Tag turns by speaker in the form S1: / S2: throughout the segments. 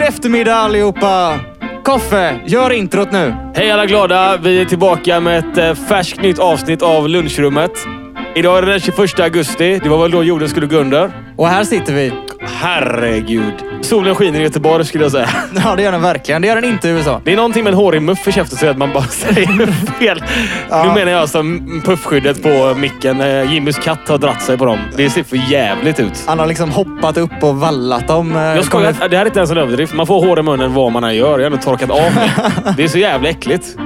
S1: eftermiddag allihopa! Koffe, gör introt nu.
S2: Hej alla glada! Vi är tillbaka med ett eh, färskt nytt avsnitt av lunchrummet. Idag är det den 21 augusti. Det var väl då jorden skulle gå under.
S1: Och här sitter vi.
S2: Herregud. Solen skiner i Göteborg skulle jag säga.
S1: Ja, det gör den verkligen. Det gör den inte i USA.
S2: Det är någonting med en hårig muff i käften så att man bara säger fel. Nu menar jag som puffskyddet på micken. Eh, Jimmys katt har dratt sig på dem. Det ser för jävligt ut.
S1: Han har liksom hoppat upp och vallat dem. eh,
S2: Jag skojar.
S1: kommer-
S2: Det här är inte ens en överdrift. Man får hår i munnen vad man än gör. Jag har ändå torkat av mig. Det är så jävla äckligt.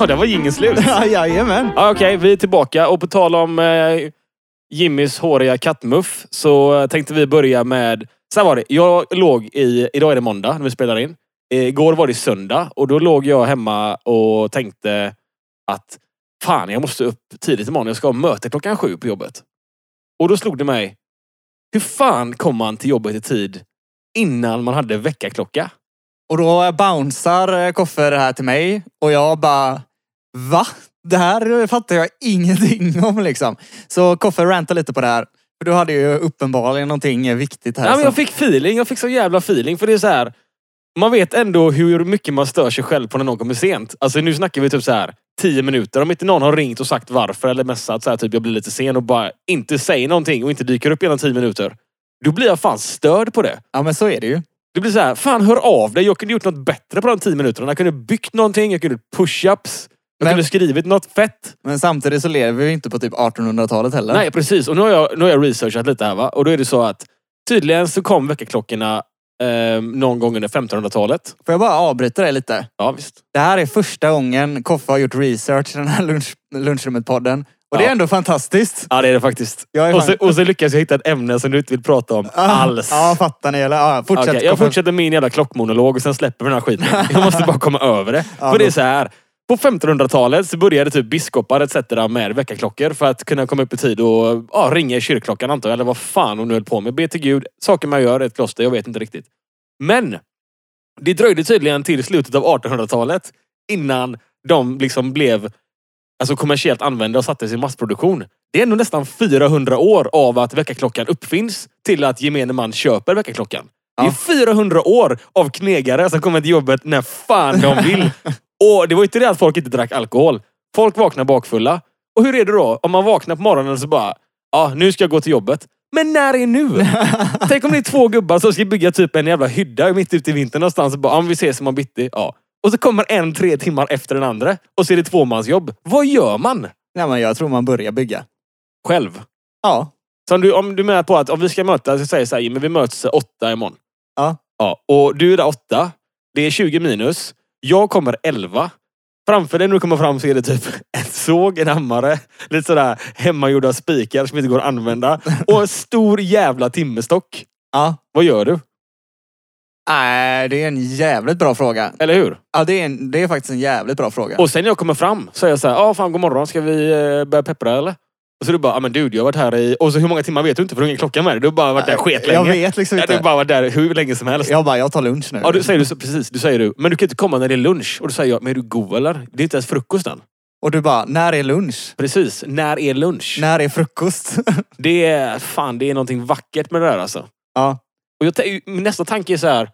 S2: Ja, där var ingen slut.
S1: Ja, jajamän.
S2: Ja, Okej, vi är tillbaka och på tal om eh, Jimmys håriga kattmuff så eh, tänkte vi börja med... Så här var det. Jag låg i... Idag är det måndag när vi spelar in. Eh, Igår var det söndag och då låg jag hemma och tänkte att fan, jag måste upp tidigt imorgon. Jag ska ha möte klockan sju på jobbet. Och då slog det mig. Hur fan kom man till jobbet i tid innan man hade väckarklocka?
S1: Och då bouncear eh, Koffe det här till mig och jag bara Va? Det här fattar jag ingenting om liksom. Så Koffe rantar lite på det här. För du hade ju uppenbarligen någonting eh, viktigt här.
S2: Ja, men
S1: som-
S2: jag fick feeling. Jag fick så jävla feeling. För det är så här. Man vet ändå hur mycket man stör sig själv på när någon kommer sent. Alltså nu snackar vi typ så här 10 minuter. Om inte någon har ringt och sagt varför eller messat så här typ jag blir lite sen och bara inte säger någonting och inte dyker upp inom 10 minuter. Då blir jag fan störd på det.
S1: ja men så är det ju.
S2: Det blir så här, fan hör av dig. Jag kunde gjort något bättre på de 10 minuterna. Jag kunde byggt någonting. Jag kunde gjort push-ups. Jag
S1: Men-
S2: kunde skrivit något fett.
S1: Men samtidigt så lever vi ju inte på typ 1800-talet heller.
S2: Nej, precis. Och nu har, jag, nu har jag researchat lite här va. Och då är det så att tydligen så kom väckarklockorna eh, någon gång under 1500-talet.
S1: Får jag bara avbryta dig lite?
S2: Ja, visst.
S1: Det här är första gången Koffe har gjort research i den här lunch, lunchrummet-podden. Och det är
S2: Ja.
S1: ändå fantastiskt.
S2: Ja, det är det faktiskt.
S1: Jag är
S2: och,
S1: fan- Ah,
S2: så, och så lyckas jag hitta ett ämne som du inte vill prata om alls.
S1: Ja, fattar ni? Eller? Ja, fortsätt.
S2: Okej, jag
S1: Koffe.
S2: fortsätter min jävla klockmonolog och sen släpper vi den här skiten. Jag måste bara komma över det.
S1: Ja,
S2: för det är
S1: då-
S2: så här. På 1500-talet så började typ biskopar etc. med väckarklockor för att kunna komma upp i tid och ja, ringa i kyrkklockan antar jag. Eller vad fan hon nu höll på med. Be till Gud. Saker man gör i ett kloster. Jag vet inte riktigt. Men det dröjde tydligen till slutet av 1800-talet innan de liksom blev alltså kommersiellt använda och sattes i massproduktion. Det är ändå nästan 400 år av att väckarklockan uppfinns till att gemene man köper väckarklockan. Det
S1: Ja.
S2: är 400 år av knegare som kommer till jobbet när fan de vill. och det var ju inte det att folk inte drack alkohol. Folk vaknar bakfulla. Och hur är det då om man vaknar på morgonen och så bara, ja nu ska jag gå till jobbet. Men när är nu? Tänk om det är två gubbar som ska bygga typ en jävla hydda mitt ute i vintern någonstans och bara, ja men vi ses imorgon bitti. Ja. Och så kommer en tre timmar efter den andra och så är det tvåmansjobb. Vad gör man?
S1: Nej, men jag tror man börjar bygga.
S2: Själv.
S1: Ja.
S2: Så om du, om du menar på att om vi ska mötas, så säger så här, "Jimmy, vi möts åtta imorgon.
S1: Ja.
S2: ja. Och du är där åtta. Det är 20 minus. Jag kommer elva. Framför dig när du kommer fram så är det typ en såg, en hammare, lite sådär hemmagjorda spikar som inte går att använda och en stor jävla timmerstock.
S1: ja.
S2: Vad gör du?
S1: Nej, det är en jävligt bra fråga.
S2: Eller hur?
S1: Ja, det är, en, det är faktiskt en jävligt bra fråga.
S2: Och sen när jag kommer fram så är jag så här, ja fan god morgon, ska vi eh, börja peppra eller? Och så du bara, ja men dude jag har varit här i... Och så hur många timmar vet du inte för du har ingen klocka med dig. Du har bara varit där skitlänge.
S1: Jag vet liksom
S2: Ja,
S1: inte.
S2: du har bara varit där hur länge som helst.
S1: Jag bara, jag tar lunch nu.
S2: Ja, du säger du så, precis. Du säger du, men du kan inte komma när det är lunch. Och då säger jag, men är du god eller? Det är inte ens frukost än.
S1: Och du bara, när är lunch?
S2: Precis. När är lunch?
S1: När är frukost?
S2: Det är, fan, det är någonting vackert med det där alltså.
S1: ja.
S2: Och jag, tän- min nästa tanke är så här.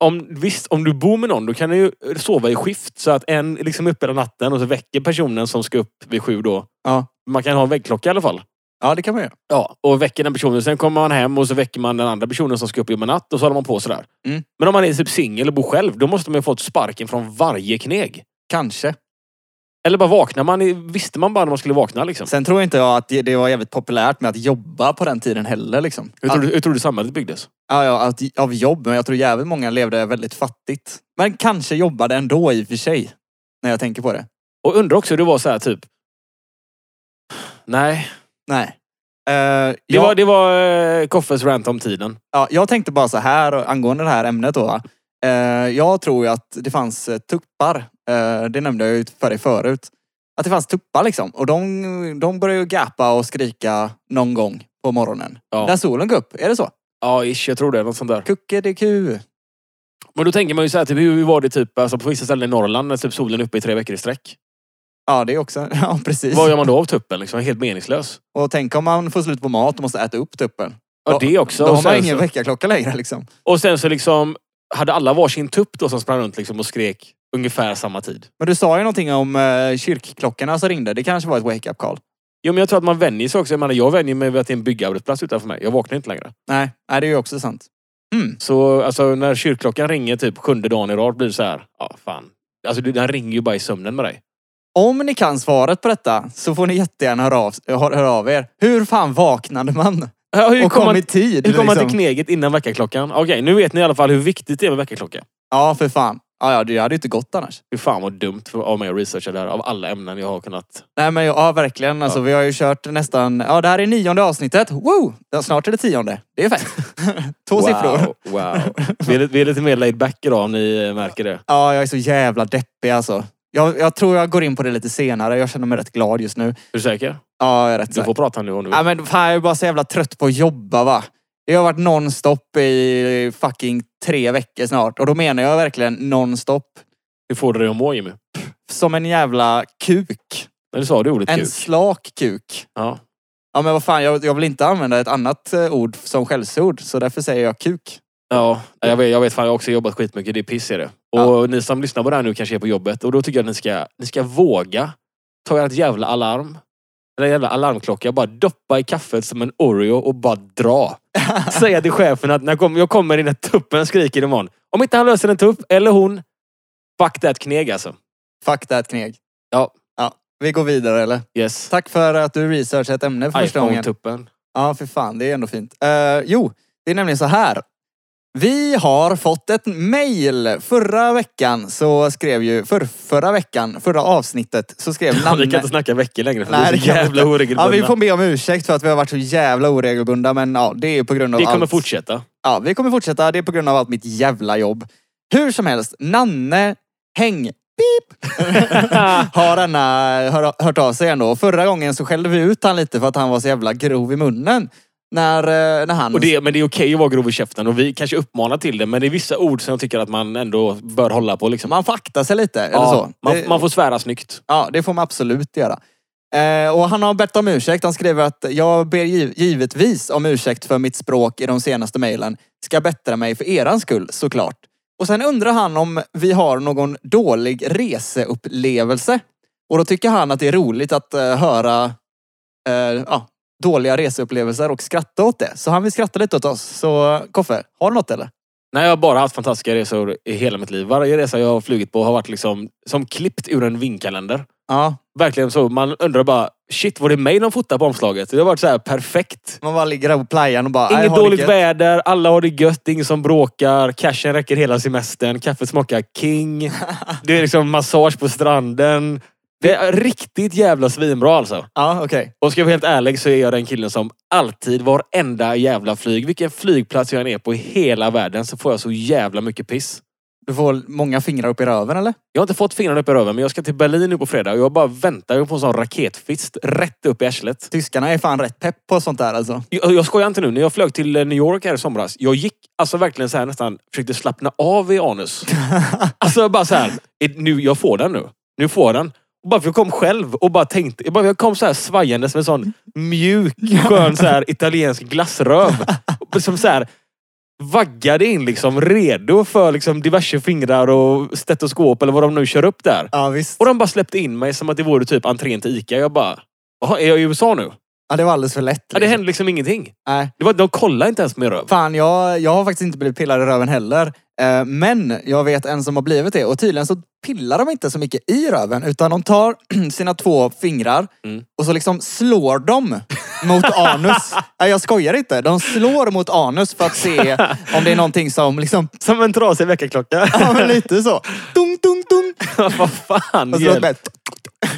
S2: Om, visst, om du bor med någon, då kan du ju sova i skift. Så att en liksom är uppe hela natten och så väcker personen som ska upp vid sju då.
S1: Ja.
S2: Man kan ha en väggklocka i alla fall.
S1: ja, det kan man göra.
S2: Ja, och väcker den personen. Sen kommer man hem och så väcker man den andra personen som ska upp och jobba natt och så håller man på sådär.
S1: Mm.
S2: Men om man är typ singel och bor själv, då måste man ju fått sparken från varje kneg.
S1: Kanske.
S2: Eller bara vaknar man, i- visste man bara när man skulle vakna liksom.
S1: Sen tror inte jag att det det var jävligt populärt med att jobba på den tiden heller. Liksom.
S2: Hur
S1: Att-
S2: tror, du, hur tror du samhället byggdes?
S1: Ja, ja, att, av jobb, men jag tror jävligt många levde väldigt fattigt. Men kanske jobbade ändå i och för sig. När jag tänker på det.
S2: Och undrar också hur det var så här typ... Nej.
S1: Nej. Eh,
S2: Det
S1: jag,
S2: var, det var eh, Koffes rant om tiden.
S1: ja, jag tänkte bara så här och- angående det här ämnet då. va. Eh, jag tror ju att det fanns eh, tuppar. Eh, det nämnde jag ju för dig förut. Att det fanns tuppar liksom. Och de, de börjar ju gapa och skrika någon gång på morgonen.
S2: Ja.
S1: När solen går upp. Är det så?
S2: Ja, ish. Jag tror det. Något sånt där.
S1: Kuckediku.
S2: Men då tänker man ju så här, typ, hur var det typ, alltså, på vissa ställen i Norrland när typ, solen är uppe i tre veckor i sträck?
S1: Ja, det är också... Ja, precis.
S2: Vad gör man då av tuppen? Liksom? Helt meningslös.
S1: Och tänk om man får slut på mat och måste äta upp tuppen.
S2: Ja,
S1: Ja,
S2: det också.
S1: Då
S2: Och
S1: har man
S2: sen
S1: ingen
S2: så,
S1: väckarklocka längre liksom.
S2: och sen så liksom... hade alla varsin tupp då som sprang runt liksom och skrek ungefär samma tid.
S1: Men du sa ju någonting om eh, kyrkklockorna som ringde. Det kanske var ett wake-up call.
S2: Jo, men jag tror att man vänjer sig också. Jag menar, jag vänjer mig vid att det är en byggarbetsplats utanför mig. Jag vaknar inte längre.
S1: Nej, nej det är ju också sant. Mm.
S2: Så alltså, när kyrkklockan ringer typ sjunde dagen i rad blir det så här. Ja, fan. Alltså du- den ringer ju bara i sömnen med dig.
S1: Om ni kan svaret på detta så får ni jättegärna höra av, hör, höra av er. Hur fan vaknade man?
S2: Ja, hur
S1: Och
S2: kom
S1: kom
S2: man,
S1: i tid?
S2: hur kom man
S1: liksom?
S2: till kneget innan väckarklockan? Okej, nu vet ni i alla fall hur viktigt det är med väckarklocka.
S1: Ja, för fan. Ja, ja, det hade ju inte gått annars.
S2: Hur fan vad dumt för, av mig att researcha det här. Av alla ämnen jag har kunnat.
S1: Nej men ja, verkligen. Alltså,
S2: Ja.
S1: Vi har ju kört nästan... Ja, det här är nionde avsnittet. Wow! Ja, Snart är det tionde. Det är fett. Två siffror.
S2: Wow. Vi är, lite- vi är lite mer laid back idag om ni eh, märker det.
S1: Ja, jag är så jävla deppig alltså. Jag, jag tror jag går in på det lite senare. Jag känner mig rätt glad just nu.
S2: Är du säker?
S1: Ja, jag är rätt
S2: Du
S1: säker.
S2: får prata nu om du vill.
S1: Ja, men fan, jag är bara så jävla trött på att jobba va. Jag har varit nonstop i fucking tre veckor snart. Och då menar jag verkligen nonstop.
S2: Hur får du dig att må Jimmy?
S1: Som en jävla kuk.
S2: Men du sa det ordet
S1: En
S2: kuk.
S1: slak kuk.
S2: Ja.
S1: Ja men vad fan, jag, jag vill inte använda ett annat eh, ord som skällsord. Så därför säger jag kuk.
S2: Ja, jag vet, jag vet fan, jag har också jobbat skitmycket. Det är piss är det. Och ni som lyssnar på det här nu kanske är på jobbet. Och då tycker jag att ni ska, ni ska våga ta ert jävla alarm. Eller jävla alarmklocka. Bara doppa i kaffet som en Oreo och bara dra. Säga till chefen att när jag kommer- jag kommer in när tuppen skriker imorgon. Om inte han löser en tupp, eller hon. Fuck that kneg alltså.
S1: Fuck that kneg.
S2: Ja.
S1: ja. Vi går vidare eller?
S2: Yes.
S1: Tack för att du researchade ett ämne för första gången.
S2: iPhone-tuppen.
S1: Ja, för fan. Det är ändå fint. Eh, jo, det är nämligen så här. Vi har fått ett mejl. Förra veckan så skrev ju, för förra veckan, förra avsnittet så skrev
S2: Vi kan
S1: namnet...
S2: inte snacka veckor längre för
S1: Nej,
S2: vi
S1: det
S2: är så
S1: kan vi
S2: jävla
S1: Ja,
S2: oregelbundna.
S1: vi får be om ursäkt för att vi har varit så jävla oregelbundna men ja, det är ju på grund av
S2: Det kommer
S1: allt.
S2: fortsätta.
S1: Ja, vi kommer fortsätta. Det är på grund av allt mitt jävla jobb. Hur som helst, Nanne Häng beep, har denna, hör, hört av sig ändå. Och Förra gången så skällde vi ut han lite för att han var så jävla grov i munnen. När, eh, när han...
S2: Mm. Och det, men det är okej att vara grov i käften och vi kanske uppmanar till det. Men det är vissa ord som jag tycker att man ändå bör hålla på. Liksom.
S1: Man får akta sig lite. eller
S2: Ja,
S1: så.
S2: Man,
S1: det,
S2: man får svära snyggt.
S1: Ja, det får man absolut göra. Eh, och han har bett om ursäkt. Han skriver att jag ber giv- givetvis om ursäkt för mitt språk i de senaste mejlen. Ska bättra mig för eran skull såklart. Och sen undrar han om vi har någon dålig reseupplevelse. Och då tycker han att det är roligt att eh, höra eh, ja, dåliga reseupplevelser och skratta åt det. Så han vill skratta lite åt oss. Så Koffe, har du något eller?
S2: Nej, jag har bara haft fantastiska resor i hela mitt liv. Varje resa jag har flugit på har varit liksom, som klippt ur en vinkalender.
S1: Ja,
S2: Verkligen så. Man undrar bara, shit var det mig de fotade på omslaget? Det har varit så här perfekt.
S1: man bara ligger där på playan och bara... "Aj,
S2: Inget
S1: har det
S2: dåligt
S1: gött."
S2: väder, alla har det gött, det är ingen som bråkar, cashen räcker hela semestern, kaffet smakar king. Det är liksom massage på stranden. Det är riktigt jävla svinbra alltså.
S1: Ja, okej.
S2: Och ska jag vara helt ärlig så är jag den killen som alltid, varenda jävla flyg, vilken flygplats jag än är på i hela världen så får jag så jävla mycket piss.
S1: Du får många fingrar upp i röven eller?
S2: Jag har inte fått fingrarna upp i röven men jag ska till Berlin nu på fredag och jag bara väntar på en sån raketfist rätt upp i arslet.
S1: Tyskarna är fan rätt pepp på sånt där alltså.
S2: Jag, jag skojar inte nu. När jag flög till eh, New York här i somras. Jag gick alltså verkligen så här nästan, försökte slappna av i anus. Alltså jag bara så här, "Är- nu, jag får den nu. Nu får jag den. Och bara för jag kom själv och bara tänkte, jag, bara, jag kom så här svajandes med en sån mjuk, skön så här, italiensk glassröv. Som så här, vaggade in liksom redo för liksom diverse fingrar och stetoskop eller vad de nu kör upp där.
S1: Ja visst.
S2: Och de bara släppte in mig som att det vore typ entrén till Ica. Jag bara, jaha, är jag i USA nu?
S1: Ja, det var alldeles för lätt.
S2: Ja, det
S1: liksom.
S2: hände liksom ingenting.
S1: Nej.
S2: Det var, de kollade inte ens med röv.
S1: Fan, jag, jag har faktiskt inte blivit pillad i röven heller. Eh, Men jag vet en som har blivit det och tydligen så pillar de inte så mycket i röven utan de tar sina två fingrar
S2: Mm.
S1: och så liksom slår de mot anus. Nej, jag skojar inte. De slår mot anus för att se om det är någonting som liksom...
S2: Som en trasig väckarklocka.
S1: Ja, men lite så. Dung, dung, dung.
S2: Vad fan.
S1: Och så
S2: hjälp.
S1: bara,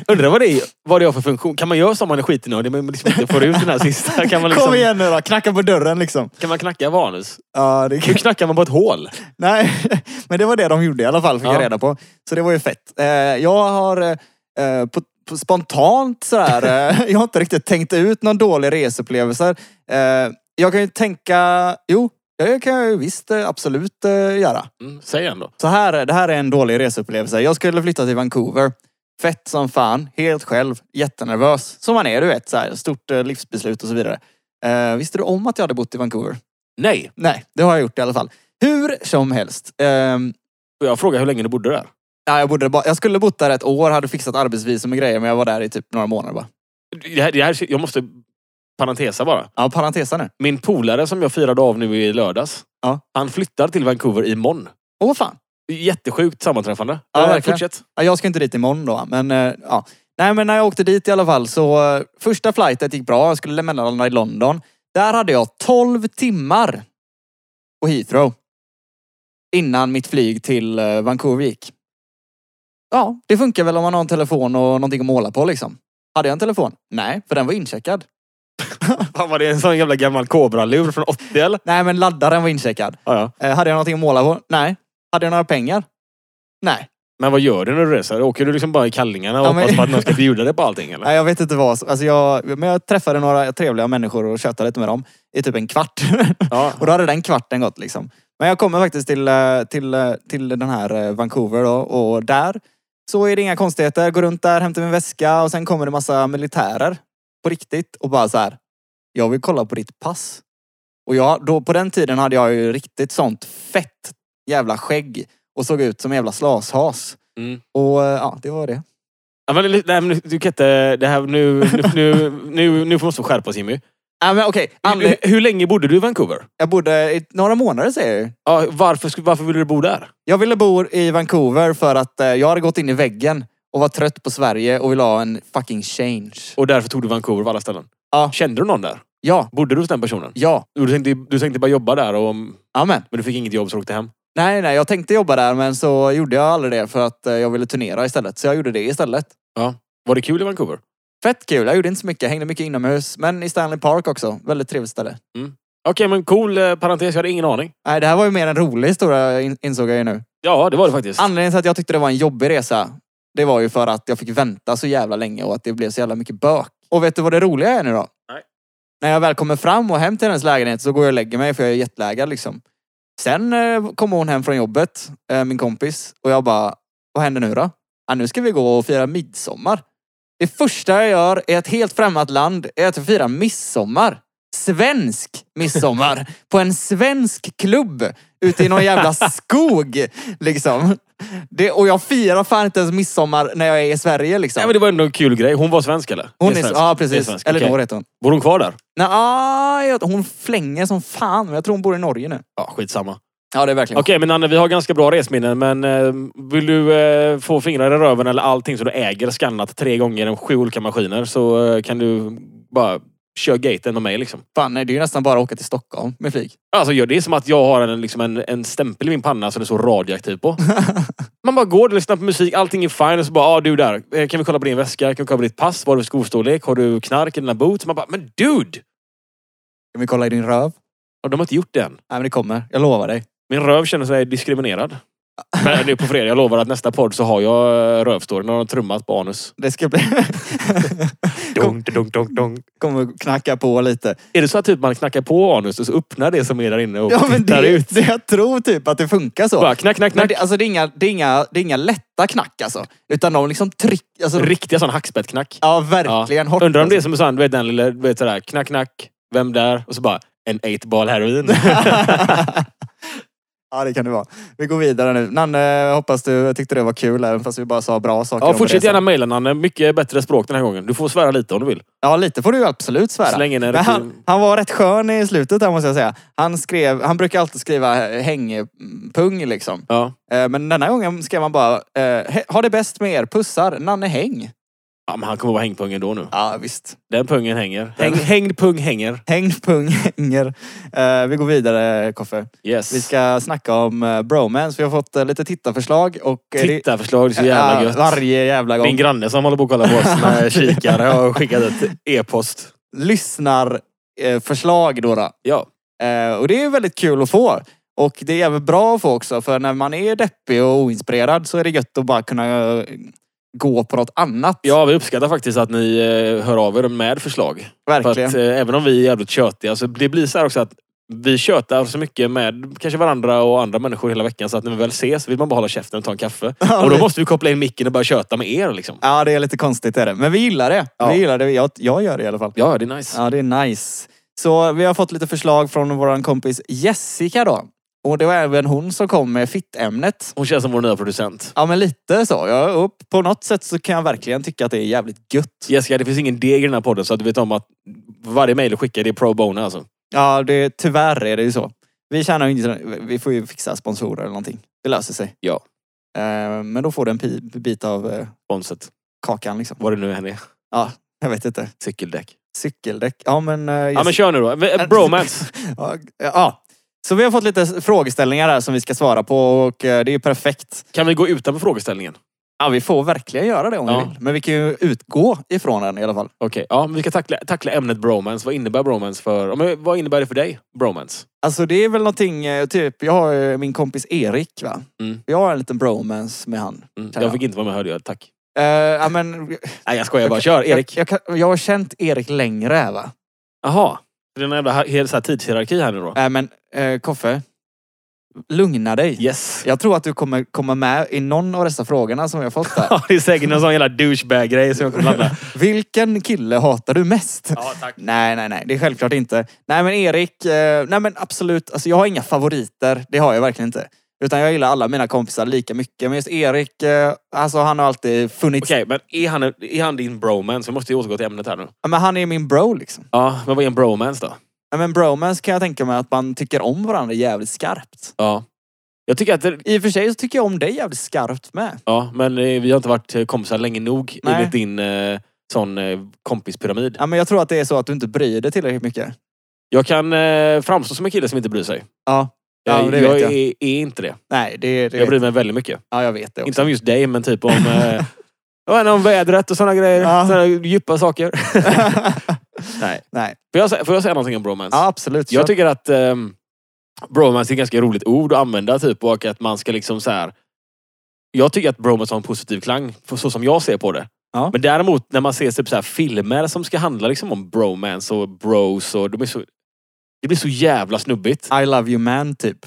S2: Undrar vad det, är, vad det har för funktion. Kan man göra så om man är skitnödig men liksom inte får ut den här sista? Kan man,
S1: Kom
S2: liksom,
S1: igen nu då, knacka på dörren liksom.
S2: kan man knacka vanus?
S1: Ja, det kan...
S2: Hur knackar man på ett hål?
S1: Nej, men det var det de gjorde i alla fall, fick
S2: Ja.
S1: jag reda på. Så det var ju fett. Eh, jag har eh, eh, på, på spontant sådär, eh, jag har inte riktigt tänkt ut någon dålig reseupplevelse. Eh, jag kan ju tänka, jo, ja, det kan jag ju visst eh, absolut eh, göra.
S2: Mm, säg ändå.
S1: Så här, det här är en dålig reseupplevelse. Jag skulle flytta till Vancouver. Fett som fan, helt själv, jättenervös. Som man är, du vet. Så här, stort eh, livsbeslut och så vidare. Eh, visste du om att jag hade bott i Vancouver?
S2: Nej.
S1: Nej, det har jag gjort i alla fall. Hur som helst. ehm,
S2: Och jag frågade hur länge du bodde där.
S1: nej, jag, borde bara, jag skulle bott där ett år, hade fixat arbetsvisum och grejer, men jag var där i typ några månader bara.
S2: Det här, det här, jag måste parentesa bara.
S1: Ja, parentesa nu.
S2: Min polare som jag firade av nu i lördags.
S1: Ja.
S2: Han flyttar till Vancouver imorgon.
S1: Åh fan.
S2: Jättesjukt sammanträffande.
S1: Ja,
S2: Eh,
S1: verkligen.
S2: Fortsätt.
S1: Ja, jag ska inte dit imorgon då, men eh, ja. Nej, men när jag åkte dit i alla fall så eh, första flightet gick bra. Jag skulle mellanlanda i London. Där hade jag 12 timmar på Heathrow innan mitt flyg till eh, Vancouver gick. Ja, det funkar väl om man har en telefon och någonting att måla på liksom. Hade jag en telefon? Nej, för den var incheckad.
S2: Fan var det en sån jävla gammal kobralur från 80 eller?
S1: Nej, men laddaren var incheckad.
S2: Ja, ja.
S1: Eh, hade jag någonting att måla på? Nej. Hade jag några pengar? Nej.
S2: Men vad gör du när du reser? Åker du liksom bara i kallingarna och
S1: Ja, men-
S2: hoppas på att någon ska bjuda dig på allting eller?
S1: Nej, jag vet inte vad. som- Alltså jag, men jag träffade några trevliga människor och tjötade lite med dem i typ en kvart.
S2: Ja.
S1: och då hade den kvarten gått liksom. Men jag kommer faktiskt till, eh, till, eh, till den här eh, Vancouver då, och där så är det inga konstigheter. Går runt där, hämtar min väska och sen kommer det massa militärer på riktigt och bara så här. Jag vill kolla på ditt pass. Och jag, då, på den tiden hade jag ju riktigt sånt fett jävla skägg och såg ut som en jävla slashas.
S2: Mm.
S1: Och eh, ja, det var det.
S2: Ja, men, li- nej, men du- du kan inte... Det här, nu, nu, nu, nu, nu måste vi skärpa oss Jimmy.
S1: Nej Äh, men okej, anle-
S2: Hur, hur länge bodde du i Vancouver?
S1: Jag bodde i några månader säger jag ju.
S2: Ja, varför, sku- varför ville du bo där?
S1: Jag ville bo i Vancouver för att eh, jag hade gått in i väggen och var trött på Sverige och ville ha en fucking change.
S2: Och därför tog du Vancouver av alla ställen?
S1: Ja.
S2: Kände du någon där?
S1: Ja,
S2: Bodde du hos den personen?
S1: ja,
S2: Du tänkte, du tänkte bara jobba där, och,
S1: amen.
S2: men du fick inget jobb så du åkte hem?
S1: Nej, nej, jag tänkte jobba där men så gjorde jag aldrig det för att eh, jag ville turnera istället. Så jag gjorde det istället.
S2: Var det kul i Vancouver?
S1: Fett kul, jag gjorde inte så mycket. Jag hängde mycket inomhus. Men i Stanley Park också. Väldigt trevligt ställe.
S2: Okej, men cool eh, parentes. Jag hade ingen aning.
S1: Nej, det här var ju mer en rolig historia in- insåg jag ju nu.
S2: Ja, det var det faktiskt.
S1: Anledningen till att jag tyckte det var en jobbig resa, det var ju för att jag fick vänta så jävla länge och att det blev så jävla mycket bök. Och vet du vad det roliga är nu då?
S2: Nej.
S1: När jag väl kommer fram och hem till hennes lägenhet så går jag och lägger mig för jag är jetlaggad liksom. Sen eh, kommer hon hem från jobbet, eh, min kompis, och jag bara, vad händer nu då? Ja, nu ska vi gå och fira midsommar. Det första jag gör i ett helt främmat land är att fira midsommar. Svensk midsommar! på en svensk klubb ute i någon jävla skog. Liksom. Det, och jag firar fan inte ens midsommar när jag är i Sverige. Liksom.
S2: Nej, men det var ändå en kul grej. Hon var svensk eller?
S1: hon
S2: Det
S1: är,
S2: svensk.
S1: ja,
S2: Det är
S1: precis.
S2: svensk, okej.
S1: Elinor heter hon.
S2: Bor hon kvar där?
S1: Nej, ah, jag, hon flänger som fan, men jag tror hon bor i Norge nu.
S2: Ja, skitsamma.
S1: Ja, det är verkligen
S2: Okej, men Anne, vi har ganska bra resminnen, men eh, vill du eh, få fingrar i röven eller allting som du äger skannat tre gånger genom sju olika maskiner så eh, kan du bara köra gaten med mig liksom.
S1: fan. Nej, det är ju nästan bara att åka till Stockholm med flyg.
S2: Alltså gör det är som att jag har en, liksom en, en stämpel i min panna som det står radioaktiv på. Man bara går, lyssnar på musik, allting är fine. Och så bara, ah, du där. eh, Kan vi kolla på din väska? Kan vi kolla på ditt pass? Vad har du för skostorlek? Har du knark i dina boots? Man bara, men dude!
S1: Kan vi kolla i din röv?
S2: Och de har inte gjort det än.
S1: Nej, men det kommer. Jag lovar dig.
S2: Min röv känner sig diskriminerad. Men nu på fredag, jag lovar att nästa podd så har jag eh, rövstoryn. Har de trummat på anus.
S1: Det ska bli... Kom,
S2: Dunk, dunk, dunk, dunk.
S1: kommer knacka på lite.
S2: Är det så att typ man knackar på anus och så öppnar det som är där inne och
S1: Ja, men
S2: tittar
S1: det,
S2: ut?
S1: Det, jag tror typ att det funkar så.
S2: Bara knack, knack,
S1: Men
S2: knack.
S1: det, alltså, det, är inga, det, är inga, det är inga lätta knack alltså. Utan de liksom trycker... Alltså,
S2: Riktiga sån hackspettknack.
S1: ja, verkligen hårt.
S2: Undrar om det är som sån, du vet den lilla, du vet sådär, knack, knack, vem där? Och så bara, en 8-ball heroin.
S1: alltså. ja, det kan det vara. Vi går vidare nu. Nanne, hoppas du tyckte det var kul även fast vi bara sa bra saker.
S2: ja,
S1: om
S2: fortsätt
S1: resan.
S2: gärna mejla Nanne. Mycket bättre språk den här gången. Du får svära lite om du vill.
S1: Ja, lite får du ju absolut svära.
S2: Släng in
S1: Men
S2: en riktig...
S1: han, han var rätt skön i slutet här måste jag säga. Han, skrev, han brukar alltid skriva eh, hängpung liksom.
S2: Ja.
S1: Eh, Men denna gången skrev han bara eh, "He- Ha det bäst med er, pussar, Nanne Häng.
S2: ja, men han kommer vara hängpungen då nu.
S1: Ja visst.
S2: Den pungen hänger. Häng, hängd pung hänger.
S1: Häng, pung, hänger. Eh, Vi går vidare Koffe.
S2: Yes.
S1: Vi ska snacka om eh, bromance. Vi har fått eh, lite tittarförslag. Och eh, det-
S2: Tittarförslag, det är så jävla
S1: Ja,
S2: gött.
S1: Varje jävla gång.
S2: Min granne som håller på att kolla på oss med kikare har skickat ett e-post.
S1: Lyssnarförslag då. då.
S2: Ja.
S1: Eh, Och det är väldigt kul att få. Och det är jävligt bra att få också. För när man är deppig och oinspirerad så är det gött att bara kunna eh, gå på något annat.
S2: ja, vi uppskattar faktiskt att ni eh, hör av er med förslag. För
S1: Verkligen.
S2: att, eh, även om vi är jävligt tjötiga så det blir så här också att vi tjötar så mycket med kanske varandra och andra människor hela veckan så att när vi väl ses vill man bara hålla käften och ta en kaffe.
S1: Ja,
S2: och då
S1: det-
S2: måste vi koppla in micken och börja köta med er liksom.
S1: Ja, det är lite konstigt är det. Men vi gillar det.
S2: Ja.
S1: Vi gillar det. Jag, jag gör det i alla fall.
S2: Ja, det är nice.
S1: Ja, det är nice. Så vi har fått lite förslag från vår kompis Jessica då. Och det var även hon som kom med fittämnet.
S2: Hon känns som vår nya producent.
S1: Ja men lite så. Ja, och på något sätt så kan jag verkligen tycka att det är jävligt gött.
S2: Jessica, det finns ingen deg i den här podden så att du vet om att varje mejl du skickar det är pro bono alltså.
S1: Ja, det, tyvärr är det ju så. Vi tjänar ju inte, vi får ju fixa sponsorer eller någonting. Det löser sig.
S2: Ja.
S1: Eh, men då får du en pi, bit av eh,
S2: Sponset.
S1: kakan liksom.
S2: Vad det nu än är.
S1: Jag vet inte.
S2: Cykeldäck.
S1: Cykeldäck. Ja men... eh,
S2: Ja men kör nu då. V- Bromance.
S1: Ja, ja. Så vi har fått lite frågeställningar här som vi ska svara på och eh, det är perfekt.
S2: Kan vi gå utanför frågeställningen?
S1: Ja, vi får verkligen göra det om
S2: Ja.
S1: vi vill. Men vi kan ju utgå ifrån den i alla fall.
S2: Okej, ja, men vi ska tackla, tackla ämnet bromance. Vad innebär bromance för... ja, Men vad innebär det för dig? Bromance?
S1: Alltså det är väl någonting, eh, typ, jag har ju min kompis Erik va?
S2: Mm.
S1: Jag har en liten bromance med han.
S2: Mm.
S1: Tja, ja.
S2: Jag fick inte vara med hörde jag. Tack.
S1: Eh, ja, men,
S2: Nej jag skojar bara. Kör Erik.
S1: Jag, jag, kan- jag har känt Erik längre här, va?
S2: Jaha. Det är en jävla hi- hel så här tidshierarki här nu då.
S1: Nej men eh, Koffe, lugna dig.
S2: Yes.
S1: Jag tror att du kommer komma med i någon av dessa frågorna som jag har fått där.
S2: Ja, det är säkert någon sån jävla douchebag-grej som jag kommer blanda.
S1: Vilken kille hatar du mest?
S2: Ja, tack.
S1: Nej, nej, nej. Det är självklart inte. Nej, men Erik. Eh, nej, men absolut. Alltså, jag har inga favoriter. Det har jag verkligen inte. Utan jag gillar alla mina kompisar lika mycket. Men just Erik, eh, alltså han har alltid funnits.
S2: Okej, men är han, är han din bromance? Vi måste ju återgå till ämnet här nu.
S1: Ja, Men han är min bro liksom.
S2: Ja, men vad är en bromance då?
S1: Ja, Men bromance kan jag tänka mig att man tycker om varandra jävligt skarpt.
S2: Ja. Jag tycker att det,
S1: I och för sig så tycker jag om dig jävligt skarpt med.
S2: Ja, men eh, vi har inte varit eh, kompisar länge nog
S1: Nej.
S2: enligt din eh, sån eh, kompispyramid.
S1: Ja, men jag tror att det är så att du inte bryr dig tillräckligt mycket.
S2: Jag kan eh, framstå som en kille som inte bryr sig.
S1: Ja, ja
S2: jag
S1: det
S2: jag
S1: vet jag.
S2: Är, är inte det.
S1: Nej, det, det
S2: Jag
S1: jag
S2: bryr mig väldigt mycket.
S1: Ja, jag vet det också.
S2: Inte om just dig, men typ om, eh, ja, men om vädret och såna grejer.
S1: Ja.
S2: Såna djupa saker. Nej.
S1: Nej.
S2: Får jag, sä- får jag säga någonting om bromance?
S1: Ja, absolut.
S2: Jag
S1: Kör.
S2: tycker att ehm, bromance är ett ganska roligt ord att använda typ och att man ska liksom så här. Jag tycker att bromance har en positiv klang, för så som jag ser på det.
S1: Ja.
S2: Men däremot när man ser typ så här filmer som ska handla liksom om bromance och bros och de är så, det blir så jävla snubbigt.
S1: I love you man, typ.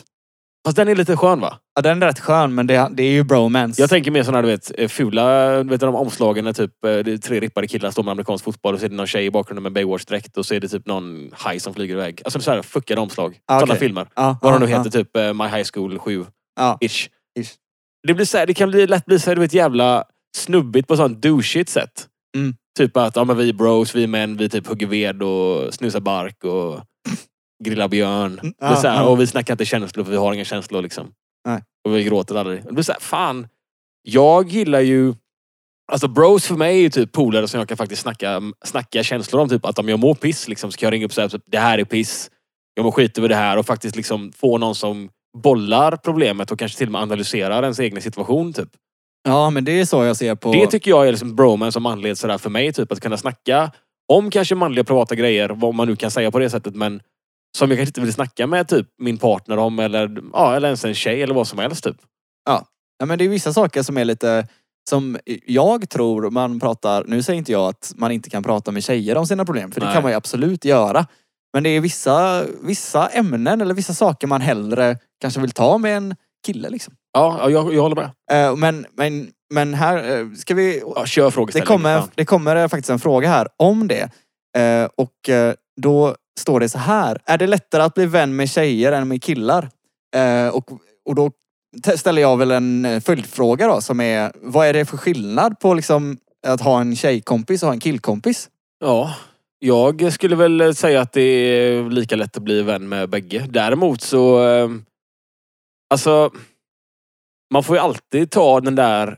S2: Fast den är lite skön va?
S1: Ja, den är rätt skön, men det, det är ju bromance.
S2: Jag tänker mer sådana du vet, eh, fula du vet, de omslagen när typ, eh, det är tre rippade killar som står med amerikansk fotboll och så är det någon tjej i bakgrunden med Baywatch-dräkt och så är det typ någon haj som flyger iväg. Alltså så här fuckade omslag.
S1: Ah,
S2: Sådana
S1: okej.
S2: filmer.
S1: ja,
S2: Vad de
S1: ja,
S2: nu heter, typ eh, My High School 7.
S1: Ja.
S2: Ish.
S1: Ish.
S2: Det, blir så här, det kan bli, lätt bli så här, du vet, jävla snubbigt på sånt douchigt sätt.
S1: Mm.
S2: Typ att ja, men vi är bros, vi är män, vi typ hugger ved och snusar bark och grillar björn.
S1: Mm,
S2: typ. Det blir
S1: ja,
S2: så här,
S1: ja.
S2: Och vi snackar inte känslor för vi har inga känslor. Liksom.
S1: Nej.
S2: Och vi gråter aldrig. Det blir så här, fan. Jag gillar ju... Alltså bros för mig är ju typ polare som jag kan faktiskt snacka, snacka känslor om. Typ att om jag mår piss liksom, så kan jag ringa upp och säga typ, det här är piss. Jag mår skit över det här och faktiskt liksom få någon som bollar problemet och kanske till och med analyserar ens egna situation. Typ.
S1: ja. ja, men det är så jag ser på...
S2: Det tycker jag är liksom bromance som anleds sådär för mig. Typ, att kunna snacka om kanske manliga privata grejer, vad man nu kan säga på det sättet. Men som jag kanske inte vill snacka med typ min partner om eller, ja, eller ens en tjej eller vad som helst. Typ.
S1: ja, men det är vissa saker som är lite... Som jag tror man pratar... Nu säger inte jag att man inte kan prata med tjejer om sina problem, för det
S2: Nej.
S1: kan man ju absolut göra. Men det är vissa, vissa ämnen eller vissa saker man hellre kanske vill ta med en kille. Liksom.
S2: Ja, ja, jag, jag håller med.
S1: Eh, men, men, men här eh, ska vi...
S2: Ja, kör
S1: Det
S2: frågeställningen.
S1: kommer,
S2: fan.
S1: det kommer eh, faktiskt en fråga här om det. Eh, och eh, då står det så här. Är det lättare att bli vän med tjejer än med killar? Eh, och, och då te- ställer jag väl en eh, följdfråga då som är vad är det för skillnad på liksom att ha en tjejkompis och ha en killkompis?
S2: Ja, jag skulle väl säga att det är lika lätt att bli vän med bägge. Däremot så... eh, Alltså... Man får ju alltid ta den där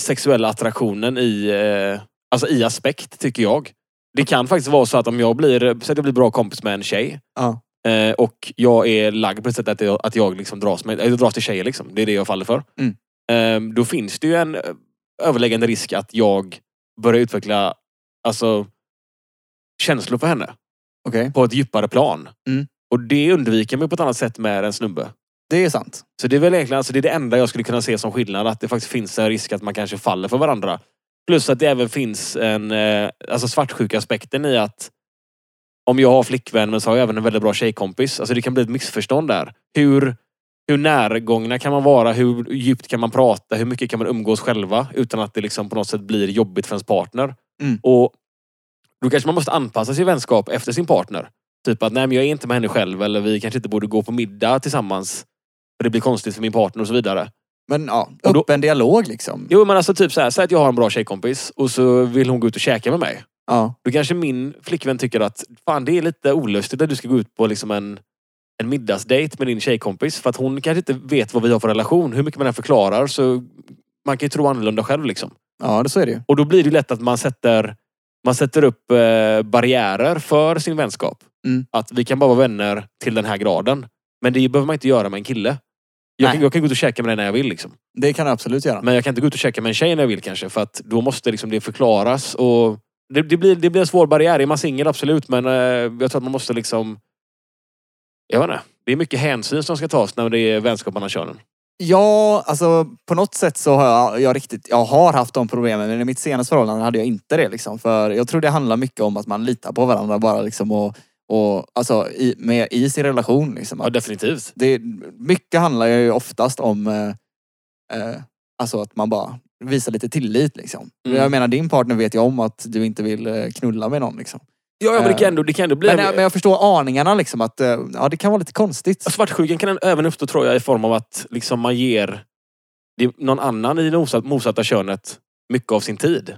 S2: sexuella attraktionen i, eh, alltså i aspekt, tycker jag. Det kan faktiskt vara så att om jag blir, säg att jag blir bra kompis med en tjej
S1: Ja.
S2: eh, och jag är lagd på det sättet att jag, att jag liksom dras, med, jag dras till tjejer. Liksom. Det är det jag faller för.
S1: Mm.
S2: Eh, Då finns det ju en eh, överläggande risk att jag börjar utveckla alltså, känslor för henne
S1: Okej.
S2: på ett djupare plan.
S1: Mm.
S2: Och det undviker mig på ett annat sätt med en snubbe.
S1: Det är sant.
S2: Så det är väl egentligen alltså, det, är det enda jag skulle kunna se som skillnad. Att det faktiskt finns en risk att man kanske faller för varandra. Plus att det även finns en eh, alltså svartsjuka-aspekten i att om jag har flickvän men så har jag även en väldigt bra tjejkompis. Alltså det kan bli ett missförstånd där. Hur, hur närgångna kan man vara? Hur djupt kan man prata? Hur mycket kan man umgås själva utan att det liksom på något sätt blir jobbigt för ens partner?
S1: Mm.
S2: Och Då kanske man måste anpassa sin vänskap efter sin partner. Typ att nej, men jag är inte med henne själv eller vi kanske inte borde gå på middag tillsammans. För det blir konstigt för min partner och så vidare.
S1: Men ja,
S2: Och då-
S1: öppen dialog liksom.
S2: Jo men alltså typ så här, säg att jag har en bra tjejkompis och så vill hon gå ut och käka med mig.
S1: Ja.
S2: Då kanske min flickvän tycker att fan det är lite olustigt att du ska gå ut på liksom en, en middagsdejt med din tjejkompis. För att hon kanske inte vet vad vi har för relation. Hur mycket man än förklarar så man kan ju tro annorlunda själv liksom.
S1: ja, det- så är det ju.
S2: Och då blir det ju lätt att man sätter, man sätter upp eh, barriärer för sin vänskap.
S1: Mm.
S2: Att vi kan bara vara vänner till den här graden. Men det behöver man inte göra med en kille. Jag kan,
S1: Nej.
S2: jag kan gå ut och käka med dig när jag vill. Liksom.
S1: Det kan du absolut göra.
S2: Men jag kan inte gå ut och käka med en tjej när jag vill kanske. För att då måste liksom det förklaras. Och det, det, blir, det blir en svår barriär. Är man singel, absolut. Men eh, jag tror att man måste liksom... Jag vet inte. Det är mycket hänsyn som ska tas när det är vänskap mellan könen.
S1: Ja, alltså på något sätt så har jag, jag riktigt, jag har haft de problemen men i mitt senaste förhållande hade jag inte det liksom. För jag tror det handlar mycket om att man litar på varandra bara liksom och, och alltså i, med, i sin relation liksom.
S2: Ja,
S1: Att
S2: definitivt.
S1: det, mycket handlar ju oftast om eh, eh, alltså att man bara visar lite tillit liksom.
S2: Mm.
S1: Jag menar din partner vet ju om att du inte vill eh, knulla med någon liksom.
S2: Ja, ja men det kan
S1: Eh,
S2: ändå, det kan ändå bli...
S1: Men, eh, men jag förstår aningarna liksom att eh, ja, det kan vara lite konstigt.
S2: Ja, Svartsjukan kan även uppstå tror jag i form av att liksom man ger det är någon annan i det motsatta- motsatta könet mycket av sin tid.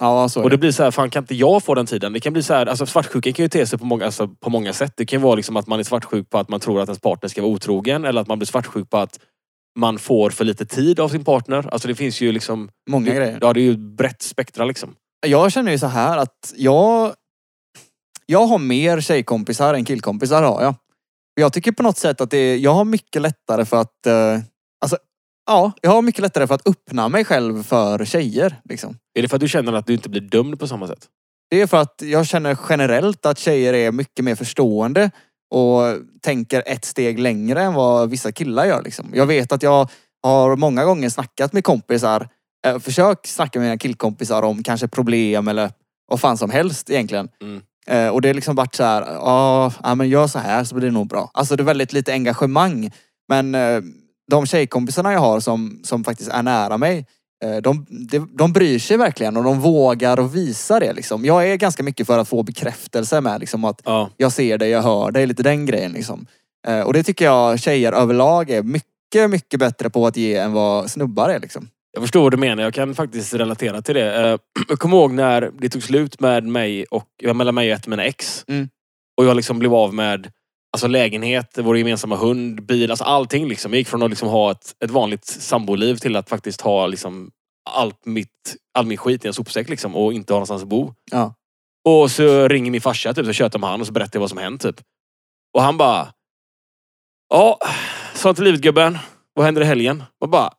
S1: Ja, så är
S2: Och det
S1: det.
S2: blir så här, fan kan inte jag få den tiden? Det kan bli så här, alltså svartsjukan kan ju te sig på många, alltså, på många sätt. Det kan ju vara liksom att man är svartsjuk på att man tror att ens partner ska vara otrogen. Eller att man blir svartsjuk på att man får för lite tid av sin partner. Alltså det finns ju liksom...
S1: Många grejer.
S2: Ja, det är ju ett brett spektra liksom.
S1: Jag känner ju så här att jag... Jag har mer tjejkompisar än killkompisar har jag. Jag tycker på något sätt att det är, jag har mycket lättare för att... Eh, alltså, ja, jag har mycket lättare för att öppna mig själv för tjejer. Liksom.
S2: Är det för att du känner att du inte blir dömd på samma sätt?
S1: Det är för att jag känner generellt att tjejer är mycket mer förstående och tänker ett steg längre än vad vissa killar gör. Liksom. Jag vet att jag har många gånger snackat med kompisar, eh, försökt snacka med mina killkompisar om kanske problem eller vad fan som helst egentligen.
S2: Mm.
S1: Eh, och det har liksom varit så här, "Ja, ja men gör så här så blir det nog bra. Alltså det är väldigt lite engagemang. Men eh, de tjejkompisarna jag har som, som faktiskt är nära mig, eh, de, de, de bryr sig verkligen och de vågar och visa det liksom. Jag är ganska mycket för att få bekräftelse med liksom att
S2: Ja.
S1: jag ser dig, jag hör dig, lite den grejen liksom. Eh, och det tycker jag tjejer överlag är mycket, mycket bättre på att ge än vad snubbar är liksom.
S2: Jag förstår vad du menar. Jag kan faktiskt relatera till det. Eh, Jag kommer ihåg när det tog slut med mig och, ja, mellan mig och ett av mina ex.
S1: Mm.
S2: Och jag liksom blev av med alltså lägenhet, vår gemensamma hund, bil, alltså allting. Liksom. Jag gick från att liksom ha ett, ett vanligt samboliv till att faktiskt ha liksom allt mitt, all min skit i en sopsäck liksom, och inte ha någonstans att bo.
S1: Ja.
S2: Och så ringer min farsa typ, så tjötar jag med han och så berättar jag vad som hänt. Typ. Och han bara... Ja, sånt är livet gubben. Vad händer i helgen? Man bara...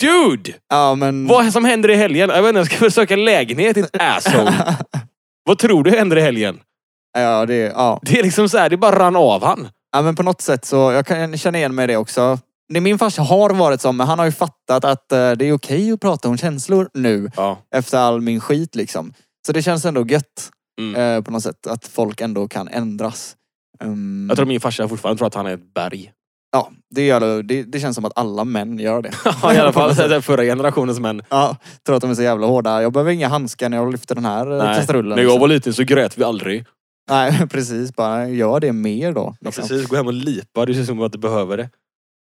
S2: Dude!
S1: Ja men...
S2: Mm. Vad som händer i helgen? Jag vet inte, jag ska försöka lägenhet, ditt asshole. Vad tror du händer i helgen?
S1: ja, det, ja.
S2: Det är liksom så här, det bara rann av han.
S1: Ja men på något sätt så, jag kan känna igen mig i det också. Det min farsa har varit som, men han har ju fattat att eh, det är okej att prata om känslor nu
S2: Ja.
S1: efter all min skit liksom. Så det känns ändå gött
S2: Mm.
S1: eh, på något sätt att folk ändå kan ändras. Ehm,
S2: Jag tror min farsa fortfarande tror att han är ett berg.
S1: Ja, det, gör det, det, det känns som att alla män gör det.
S2: Ja, I alla fall den förra generationens män.
S1: ja, tror att de är så jävla hårda. Jag behöver inga handskar när jag lyfter den här Nej.
S2: Nej.
S1: kastrullen.
S2: När jag
S1: liksom.
S2: var liten så grät vi aldrig.
S1: Nej, precis. Bara gör det mer då.
S2: Ja,
S1: liksom.
S2: precis, gå hem och lipa. Det känns som att du behöver det.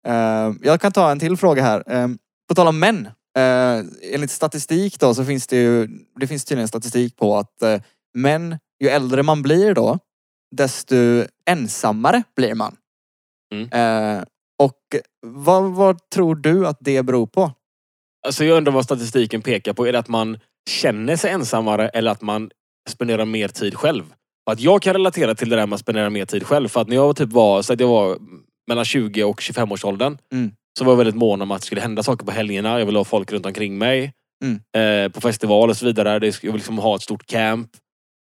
S1: Eh, jag kan ta en till fråga här. Eh, på tal om män. Uh, enligt statistik då så finns det ju, det finns tydligen statistik på att eh, män, ju äldre man blir då, desto ensammare blir man.
S2: Mm.
S1: Eh, och vad, vad tror du att det beror på?
S2: Alltså jag undrar vad statistiken pekar på. Är det att man känner sig ensammare eller att man spenderar mer tid själv? Och att jag kan relatera till det där med att spendera mer tid själv. För att när jag typ var, så att jag var mellan 20 och 25 års åldern
S1: Mm.
S2: så var jag väldigt mån om att det skulle hända saker på helgerna. Jag ville ha folk runt omkring mig.
S1: Mm.
S2: Eh, på festival och så vidare. Det sk- Jag vill liksom ha ett stort camp.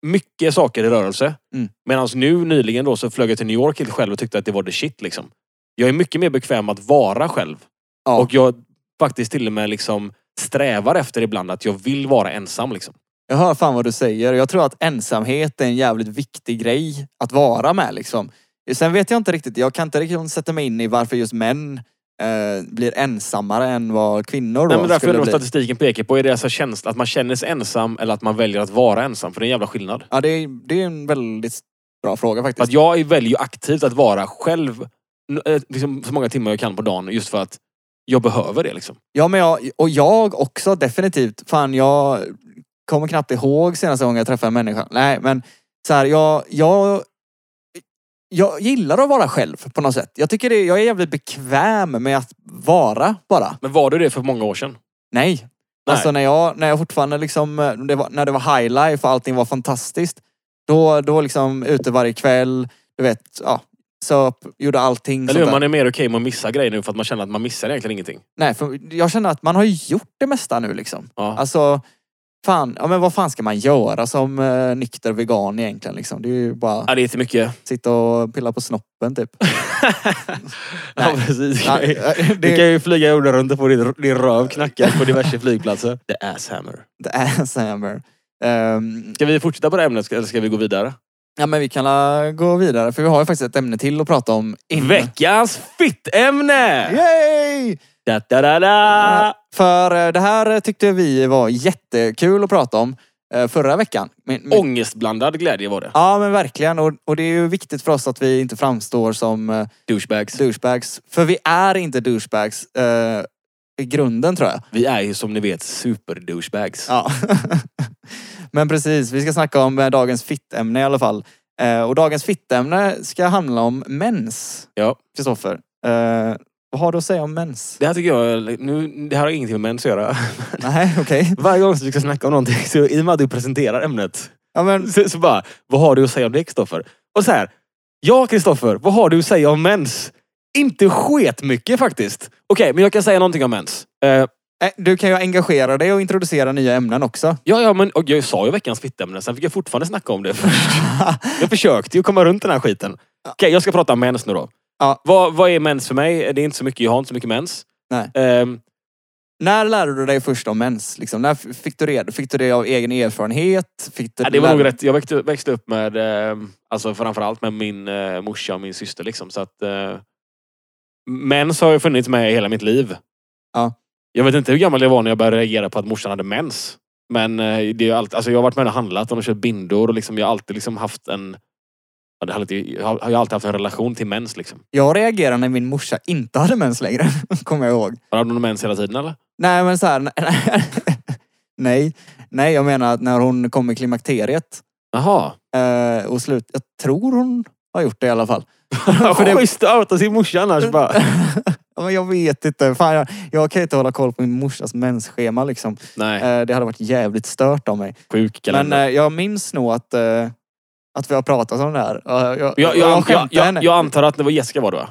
S2: Mycket saker i rörelse.
S1: Mm.
S2: Medan nu nyligen då så flög jag till New York helt själv och tyckte att det var the shit. Liksom. Jag är mycket mer bekväm att vara själv.
S1: Ja.
S2: Och jag faktiskt till och med liksom strävar efter ibland att jag vill vara ensam. Liksom.
S1: Jag hör fan vad du säger. Jag tror att ensamhet är en jävligt viktig grej att vara med liksom. Sen vet jag inte riktigt, jag kan inte riktigt sätta mig in i varför just män eh, blir ensammare än vad kvinnor då
S2: Nej, men därför
S1: skulle
S2: är det
S1: bli.
S2: statistiken pekar på. Är det alltså känsla, att man känner sig ensam eller att man väljer att vara ensam? För det är en jävla skillnad.
S1: Ja, det är, det är en väldigt Bra fråga
S2: För
S1: faktiskt.
S2: att jag väljer ju aktivt att vara själv n- eh, liksom, så många timmar jag kan på dagen just för att jag behöver det. Liksom.
S1: Ja, men jag, och jag också definitivt. Fan, jag kommer knappt ihåg senaste gången jag träffade en människa. Nej, men så här, jag, jag, jag gillar att vara själv på något sätt. Jag tycker det, jag är jävligt bekväm med att vara bara.
S2: Men var du det för många år sedan?
S1: Nej. Alltså när jag, när jag fortfarande liksom, eh, det var, när det var high life och allting var fantastiskt. Då, då liksom ute varje kväll, du vet, ja. Söp, gjorde allting. sånt
S2: Eller hur?
S1: där.
S2: Man är mer okej med att missa grejer nu för att man känner att man missar egentligen ingenting.
S1: Nej, för jag känner att man har ju gjort det mesta nu liksom.
S2: Ja.
S1: Alltså, fan, ja, men vad fan ska man göra som eh, nykter vegan egentligen? Liksom? Det är ju bara
S2: Ja, det är inte mycket.
S1: sitta och pilla på snoppen typ.
S2: ja, precis.
S1: Ja, eh,
S2: Du
S1: det,
S2: kan ju flyga jorden runt på din, din röv knackad på diverse flygplatser. The asshammer.
S1: det är så här, men, ehm,
S2: Ska vi fortsätta på det här ämnet eller ska vi gå vidare?
S1: ja, men vi kan la gå vidare för vi har ju faktiskt ett ämne till att prata om. innan-
S2: Veckans fittämne!
S1: Yay!
S2: Da, da, da, da.
S1: För eh, det här tyckte vi var jättekul att prata om eh, förra veckan. Men-
S2: Mm.
S1: men-
S2: Ångestblandad glädje var det.
S1: Ja men verkligen och, och det är ju viktigt för oss att vi inte framstår som eh,
S2: Douchebags.
S1: douchebags. För vi är inte douchebags eh, i grunden tror jag.
S2: Vi är ju som ni vet super-douchebags.
S1: Ja. Men precis, vi ska snacka om eh, dagens fittämne i alla fall. Eh, och dagens fittämne ska handla om mens.
S2: Ja.
S1: Kristoffer, eh, vad har du att säga om mens?
S2: Det här tycker jag, nu, det här har ingenting med mens att göra.
S1: Nej, okej.
S2: Varje gång som vi ska snacka om någonting, så i och med att du presenterar ämnet,
S1: Ja, men
S2: så, så bara, vad har du att säga om det Kristoffer? Och så här, ja Kristoffer, vad har du att säga om mens? Inte sket mycket faktiskt. Okej, men jag kan säga någonting om mens. Eh,
S1: eh, du kan ju engagera dig och introducera nya ämnen också.
S2: ja, ja, men och jag sa ju veckans fittämne, sen fick jag fortfarande snacka om det först. Jag försökte ju komma runt den här skiten. Okej, jag ska prata om mens nu då.
S1: Ja.
S2: Vad, vad är mens för mig? Det är inte så mycket, jag har inte så mycket mens.
S1: Nej.
S2: Ehm,
S1: När lärde du dig först om mens? Liksom, när f- fick du det? Fick du det av egen erfarenhet? Fick du
S2: Ja, det var
S1: lär-
S2: nog rätt. Jag växte, växte upp med, eh, alltså framförallt med min eh, morsa och min syster. Liksom, så att, eh, mens har ju funnits med i hela mitt liv.
S1: Ja.
S2: Jag vet inte hur gammal jag var när jag började reagera på att morsan hade mens. Men eh, det är ju allt, alltså jag har varit med henne och handlat och de köpt bindor. Och liksom, jag har alltid liksom haft en... ja, det har alltid- Jag har jag har alltid haft en relation till mens. Liksom.
S1: Jag reagerade när min morsa inte hade mens längre. Kommer jag ihåg.
S2: Har du någon mens hela tiden eller?
S1: Nej men så här, nej. Nej jag menar att när hon kom i klimakteriet
S2: Jaha.
S1: eh, och slut, jag tror hon har gjort det i alla fall. det-
S2: Schysst att outa sin morsa annars bara.
S1: Ja, men jag vet inte. Fan, jag, jag kan ju inte hålla koll på min morsas mensschema liksom.
S2: Nej,
S1: Eh, det hade varit jävligt stört av mig.
S2: sjuk
S1: Men
S2: kalender.
S1: eh, jag minns nog att, eh, att vi har pratat om det här. Eh, jag,
S2: jag,
S1: jag
S2: jag, jag,
S1: skämtade henne.
S2: jag, jag antar att det var Jessica var det va?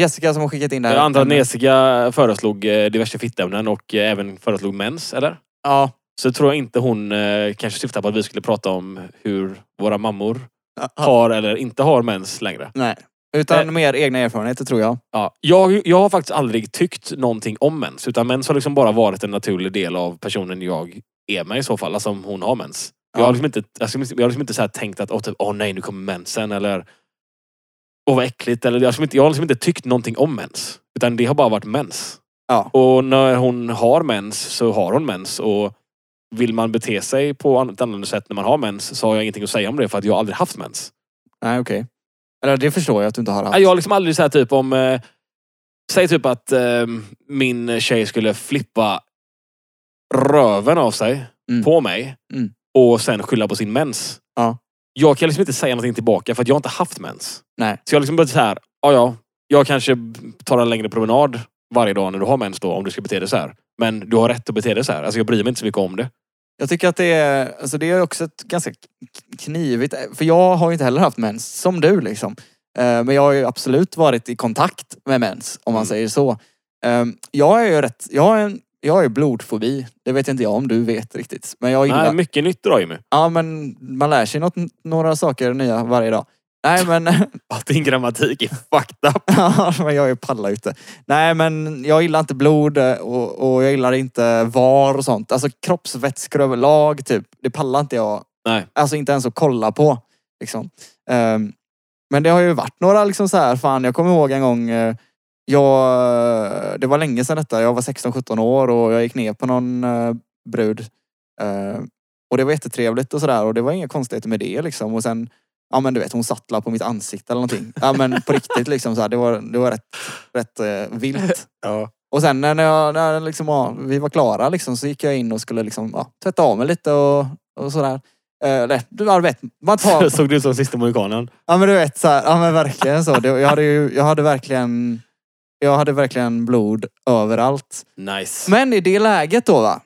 S1: Jessica som har skickat in det här.
S2: Jag antar att Nesika föreslog eh, diverse fittämnen och eh, även föreslog mens, eller?
S1: Ja.
S2: Så tror jag inte hon eh, kanske syftade på att vi skulle prata om hur våra mammor
S1: ja,
S2: har eller inte har mens längre.
S1: Nej. Utan
S2: Eh.
S1: mer egna erfarenheter tror jag.
S2: Ja. Jag, jag har faktiskt aldrig tyckt någonting om mens. Utan mens har liksom bara varit en naturlig del av personen jag är med i så fall. Alltså om hon har mens. Jag
S1: Ja.
S2: har liksom inte, jag ska- jag har liksom inte så här tänkt att åh typ, åh nej, nu kommer mensen. Eller åh vad äckligt. Eller, jag, har liksom inte, jag har liksom inte tyckt någonting om mens. Utan det har bara varit mens.
S1: Ja.
S2: Och när hon har mens så har hon mens. Och vill man bete sig på an- ett annorlunda sätt när man har mens så har jag ingenting att säga om det för att jag har aldrig haft mens.
S1: Nej okej. Eller det förstår jag att du inte har haft.
S2: Nej, Jag har liksom aldrig så här typ om... Eh, säg typ att eh, min tjej skulle flippa röven av sig
S1: Mm.
S2: på mig
S1: Mm.
S2: och sen skylla på sin mens.
S1: Ja.
S2: Jag kan liksom inte säga någonting tillbaka för att jag har inte haft mens.
S1: Nej.
S2: Så jag har liksom bara så här, ja ja, jag kanske tar en längre promenad varje dag när du har mens då om du ska bete dig så här. Men du har rätt att bete dig så här. Alltså jag bryr mig inte så mycket om det.
S1: Jag tycker att det är, alltså det är också ett ganska k- knivigt, eh, för jag har ju inte heller haft mens som du liksom. Eh, Men jag har ju absolut varit i kontakt med mens om man
S2: Mm.
S1: säger så. Eh, Jag är ju rätt, jag har en, jag har ju blodfobi. Det vet inte jag om du vet riktigt. Men jag gillar,
S2: Nej, mycket nytt idag Jimmy.
S1: ja men man lär sig något, några saker nya varje dag. Nej men,
S2: Att din grammatik är fucked up.
S1: ja, men jag är ju palla ute. Nej men jag gillar inte blod eh, och, och jag gillar inte var och sånt. Alltså kroppsvätskor överlag typ. Det pallar inte jag
S2: Nej.
S1: Alltså inte ens att kolla på. Liksom. Ehm, men det har ju varit några liksom så här, fan jag kommer ihåg en gång, eh, jag, det var länge sedan detta, jag var 16-17 år och jag gick ner på någon eh, brud. Ehm, och det var jättetrevligt och sådär och det var inga konstigheter med det liksom. Och sen Ja men du vet, hon satt la på mitt ansikte eller någonting. Ja men på riktigt liksom så här, det var, det var rätt, rätt eh, vilt.
S2: Ja.
S1: Och sen när, jag, när jag liksom, ja, vi var klara liksom, så gick jag in och skulle liksom, ja, tvätta av mig lite och, och sådär. Eh, Eller, du ja, du vet, man tar...
S2: Såg du ut som sista mohikanen?
S1: Ja men du vet så här, ja men verkligen så. Det, jag, hade ju, jag hade verkligen jag hade verkligen blod överallt.
S2: Nice.
S1: Men i det läget då va,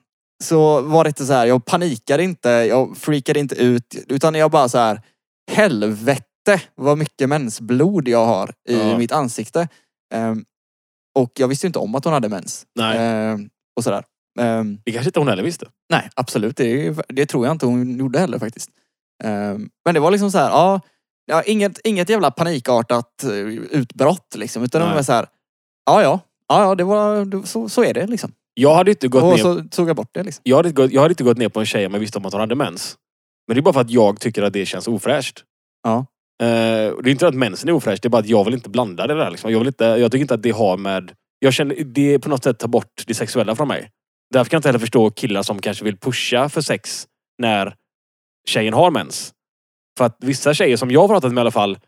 S1: så var det inte så här, jag panikade inte, jag freakade inte ut, utan jag bara så här, helvete vad mycket mensblod jag har i
S2: Ja.
S1: mitt ansikte. Ehm, och jag visste ju inte om att hon hade mens.
S2: Nej,
S1: Ehm, och sådär. Ehm,
S2: det kanske inte hon heller visste.
S1: nej, absolut. Det, är- det tror jag inte hon gjorde heller faktiskt. Ehm, men det var liksom så här, ja, ja inget, inget jävla panikartat eh, utbrott liksom, utan det
S2: Nej.
S1: var så här, ja ja, ja, ja det var, det, så, så är det liksom.
S2: Jag hade inte gått
S1: Och
S2: ner
S1: så tog jag bort det liksom.
S2: jag hade, inte gått, jag hade inte gått ner på en tjej om jag visste om att hon hade mens. Men det är bara för att jag tycker att det känns ofräscht.
S1: Ja.
S2: Eh, och det är inte att mensen är ofräscht, det är bara att jag vill inte blanda det där. Liksom. Jag, vill inte, jag tycker inte att det har med... Jag känner, det på något sätt tar bort det sexuella från mig. Därför kan jag inte heller förstå killar som kanske vill pusha för sex när tjejen har mens. För att vissa tjejer som jag har pratat med i alla fall,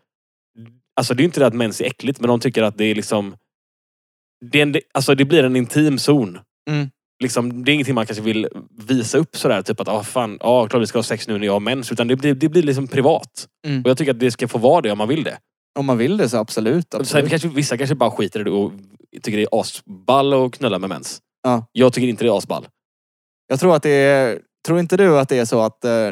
S2: alltså det är ju inte det att mens är äckligt, men de tycker att det är liksom... Det, är en, alltså det blir en intim zon.
S1: Mm.
S2: Liksom, det är ingenting man kanske vill visa upp sådär, typ att ah, fan, ah, klart vi ska ha sex nu när jag har mens. Utan det blir, det blir liksom privat.
S1: Mm.
S2: Och jag tycker att det ska få vara det om man vill det.
S1: Om man vill det så absolut.
S2: Och Sen
S1: absolut.
S2: kanske, vissa kanske bara skiter i det och tycker det är asball att knulla med mens.
S1: Ja.
S2: Jag tycker inte det är asball.
S1: Jag tror att det är, tror inte du att det är så att eh,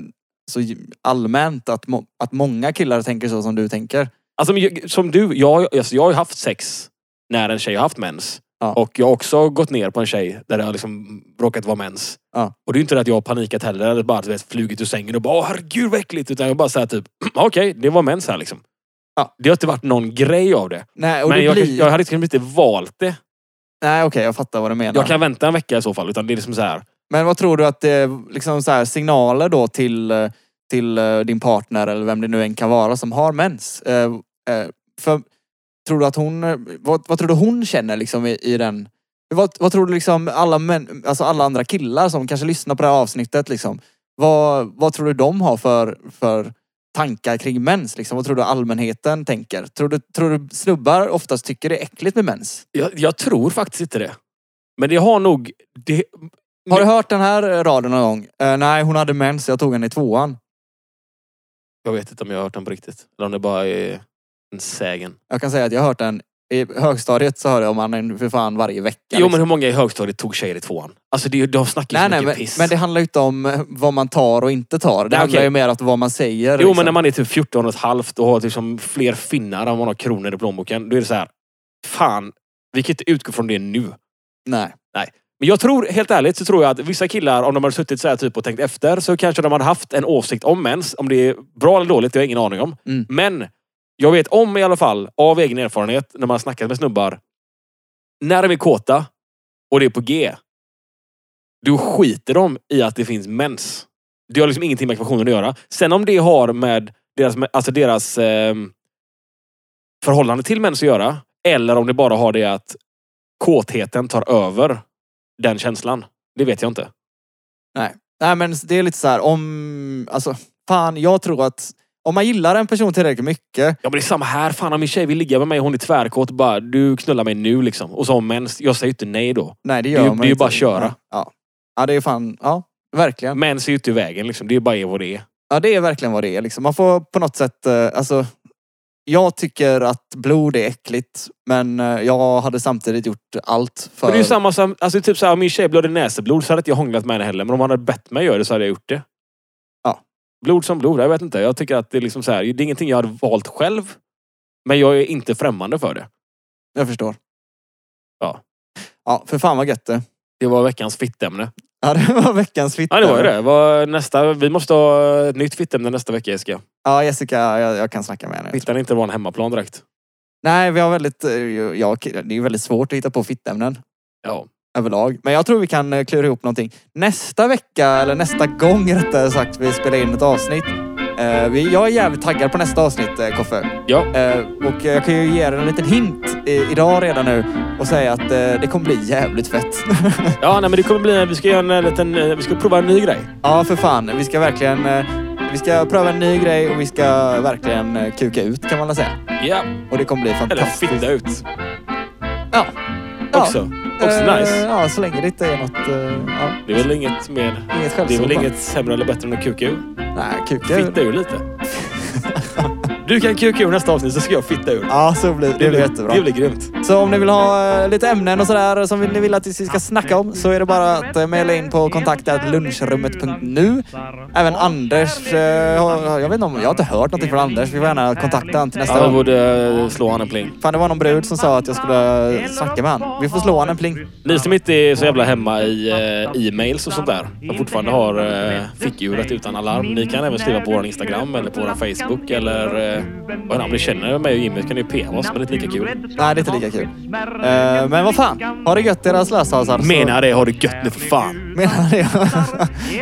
S1: så allmänt att, må, att många killar tänker så som du tänker?
S2: Alltså, men jag- som du, jag, alltså, jag har ju haft sex när en tjej har haft mens.
S1: Ja.
S2: Och jag har också gått ner på en tjej där det har liksom råkat vara mens.
S1: Ja.
S2: Och det är ju inte det att jag har panikat heller. Eller bara du vet, flugit ur sängen och bara Åh, herregud vad äckligt. Utan jag bara såhär typ, okej, det var mens här liksom.
S1: Ja.
S2: Det har inte varit någon grej av det.
S1: Nej, och
S2: men
S1: det
S2: jag,
S1: blir...
S2: kanske- jag hade kanske inte valt det.
S1: Nej, okej, jag fattar vad du menar.
S2: Jag kan vänta en vecka i så fall. Utan det är liksom så här.
S1: Men vad tror du att det är liksom så här signaler då till, eh, till eh, din partner eller vem det nu än kan vara som har mens? Eh, eh, För tror du att hon, eh, vad, vad tror du hon känner liksom i, i den? Vad, vad tror du liksom alla, män, alltså alla andra killar som kanske lyssnar på det här avsnittet liksom? Vad, vad tror du de har för, för tankar kring mens? Liksom? Vad tror du allmänheten tänker? Tror du, tror du snubbar oftast tycker det är äckligt med mens?
S2: Jag, jag tror faktiskt inte det. Men det har nog... Det,
S1: Har du hört den här raden någon gång? Eh, nej, hon hade mens, jag tog henne i tvåan.
S2: jag vet inte om jag har hört den på riktigt. Eller om det bara är en sägen.
S1: Jag kan säga att jag har hört den i högstadiet så hör jag om han för fan varje vecka.
S2: Jo
S1: liksom.
S2: men hur många i högstadiet tog tjejer i tvåan? Alltså det, de snackar ju så
S1: nej,
S2: mycket
S1: nej, men,
S2: piss.
S1: men det handlar ju inte om eh, vad man tar och inte tar. Det
S2: Nej,
S1: handlar
S2: okej.
S1: ju mer om vad man säger.
S2: Jo
S1: liksom.
S2: men när man är typ 14 och ett halvt och har liksom fler finnar än man har kronor i plånboken. Då är det så här. Fan, vi kan inte utgå från det nu.
S1: Nej.
S2: Men jag tror, helt ärligt, så tror jag att vissa killar, om de hade suttit så här typ och tänkt efter, så kanske de hade haft en åsikt om mens. Om det är bra eller dåligt, det har jag ingen aning om.
S1: Mm.
S2: Men jag vet om i alla fall, av egen erfarenhet, när man har snackat med snubbar. När de är kåta och det är på G, då skiter de i att det finns mens. Det har liksom ingenting med ekvationen att göra. Sen om det har med deras, alltså deras ehm, förhållande till mens att göra, eller om det bara har det att kåtheten tar över den känslan. Det vet jag inte.
S1: nej men det är lite så här om... Alltså fan jag tror att om man gillar en person tillräckligt mycket.
S2: Ja men det är samma här. Fan om min tjej vill ligga med mig och hon är tvärkåt. Bara du knullar mig nu liksom. Och så har hon mens. Jag säger ju inte nej då.
S1: Nej det
S2: Det
S1: gör
S2: är ju-
S1: man
S2: det är ju
S1: inte.
S2: bara att köra.
S1: Ja. ja det är fan... Ja verkligen.
S2: Mens är ju inte i vägen liksom. Det är bara vad det är.
S1: Ja, det är verkligen vad det är. Liksom. Man får på något sätt... Eh, alltså, jag tycker att blod är äckligt, men eh, jag hade samtidigt gjort allt för...
S2: Men det är ju samma som... Alltså typ såhär, om min tjej blöder näseblod så hade inte jag hånglat med henne heller. Men om hon hade bett mig göra det så hade jag gjort det.
S1: Ja.
S2: Blod som blod. Jag vet inte. Jag tycker att det är liksom så här. Det är ingenting jag hade valt själv. Men jag är inte främmande för det.
S1: Jag förstår.
S2: Ja.
S1: Ja, för fan vad gött det.
S2: Det var veckans fittämne.
S1: Ja, det var veckans fitta.
S2: Ja, det var ju det. det. Var nästa, vi måste ha ett nytt fittämne nästa vecka, Jessica.
S1: Ja, Jessica, jag, jag kan snacka med henne.
S2: Fittan är inte vår hemmaplan direkt.
S1: Nej, vi har väldigt... eh, Ja, det är väldigt svårt att hitta på fittämnen.
S2: Ja.
S1: överlag. Men jag tror vi kan eh, klura ihop någonting. Nästa vecka, eller nästa gång rättare sagt, vi spelar in ett avsnitt. Eh, vi, jag är jävligt taggad på nästa avsnitt, eh, Koffe.
S2: Ja.
S1: Eh, och eh, jag kan ju ge er en liten hint i, idag redan nu och säga att eh, det kommer bli jävligt fett.
S2: eh, Ja, nej, men det kommer bli... Vi ska, göra en liten, vi ska prova en ny grej.
S1: ja, för fan. Vi ska verkligen... Eh, Vi ska pröva en ny grej och vi ska verkligen eh, kuka ut kan man väl säga.
S2: Ja.
S1: Och det kommer bli
S2: Eller
S1: fantastiskt.
S2: fitta ut.
S1: Ja. Ja.
S2: Också. Också
S1: Eh,
S2: nice.
S1: Ja, så länge det inte är något... eh, ja.
S2: Det är väl inget mer...
S1: Inget
S2: Det är
S1: skällsord
S2: väl
S1: bara.
S2: inget sämre eller bättre än att kuka ur.
S1: Nej, kuka ur.
S2: Fitta ur lite. Du kan kuka ur nästa avsnitt så ska jag fitta ur.
S1: Ja, så blir, det blir jättebra.
S2: Det blir grymt.
S1: Så om ni vill ha eh, lite ämnen och sådär som ni vill att vi ska snacka om så är det bara att eh, mejla in på kontaktatllunchrummet.nu. Även Anders, eh, har- jag vet inte om, jag har inte hört någonting från Anders. Vi får gärna kontakta honom till nästa
S2: Ja, vi
S1: gång.
S2: borde eh, slå han en pling.
S1: Fan, det var någon brud som sa att jag skulle eh, snacka med honom. Vi får slå honom en pling.
S2: Ni som inte är så jävla hemma i eh, e-mails och sånt där och fortfarande har eh, fickuret utan alarm. Ni kan även skriva på vår Instagram eller på vår Facebook eller eh, vad namn ni känner mig och Jimmy kan ni PM oss men det är inte lika kul.
S1: Nej, det är inte lika kul. Eh, men vad fan, ha det gött era slösasar. så-
S2: Menar det har du gött nu för fan.
S1: Menar det.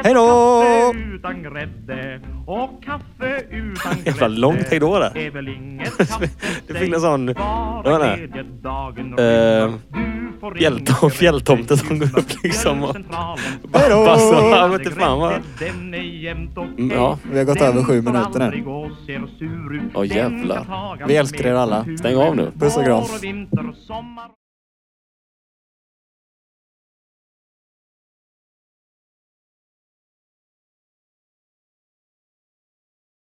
S1: Hej då!
S3: Utan grädde och kaffe utan grädde.
S2: Jävla långt hejdå där.
S3: Är väl inget kaffe
S2: Du fick en sån-
S3: Bara
S2: vad var det?
S3: glädje dagen
S2: Eh,
S3: runt. Du får
S2: Hjälte
S3: ringa
S2: och fjälltomte som går upp liksom och Alltså, jag vet inte fan vad... Mm, ja.
S3: Ja.
S1: Vi har gått över sju minuter nu.
S2: Åh, jävlar.
S1: Vi älskar er alla.
S2: Stäng av nu.
S1: Puss och kram.
S3: Vinter, sommar.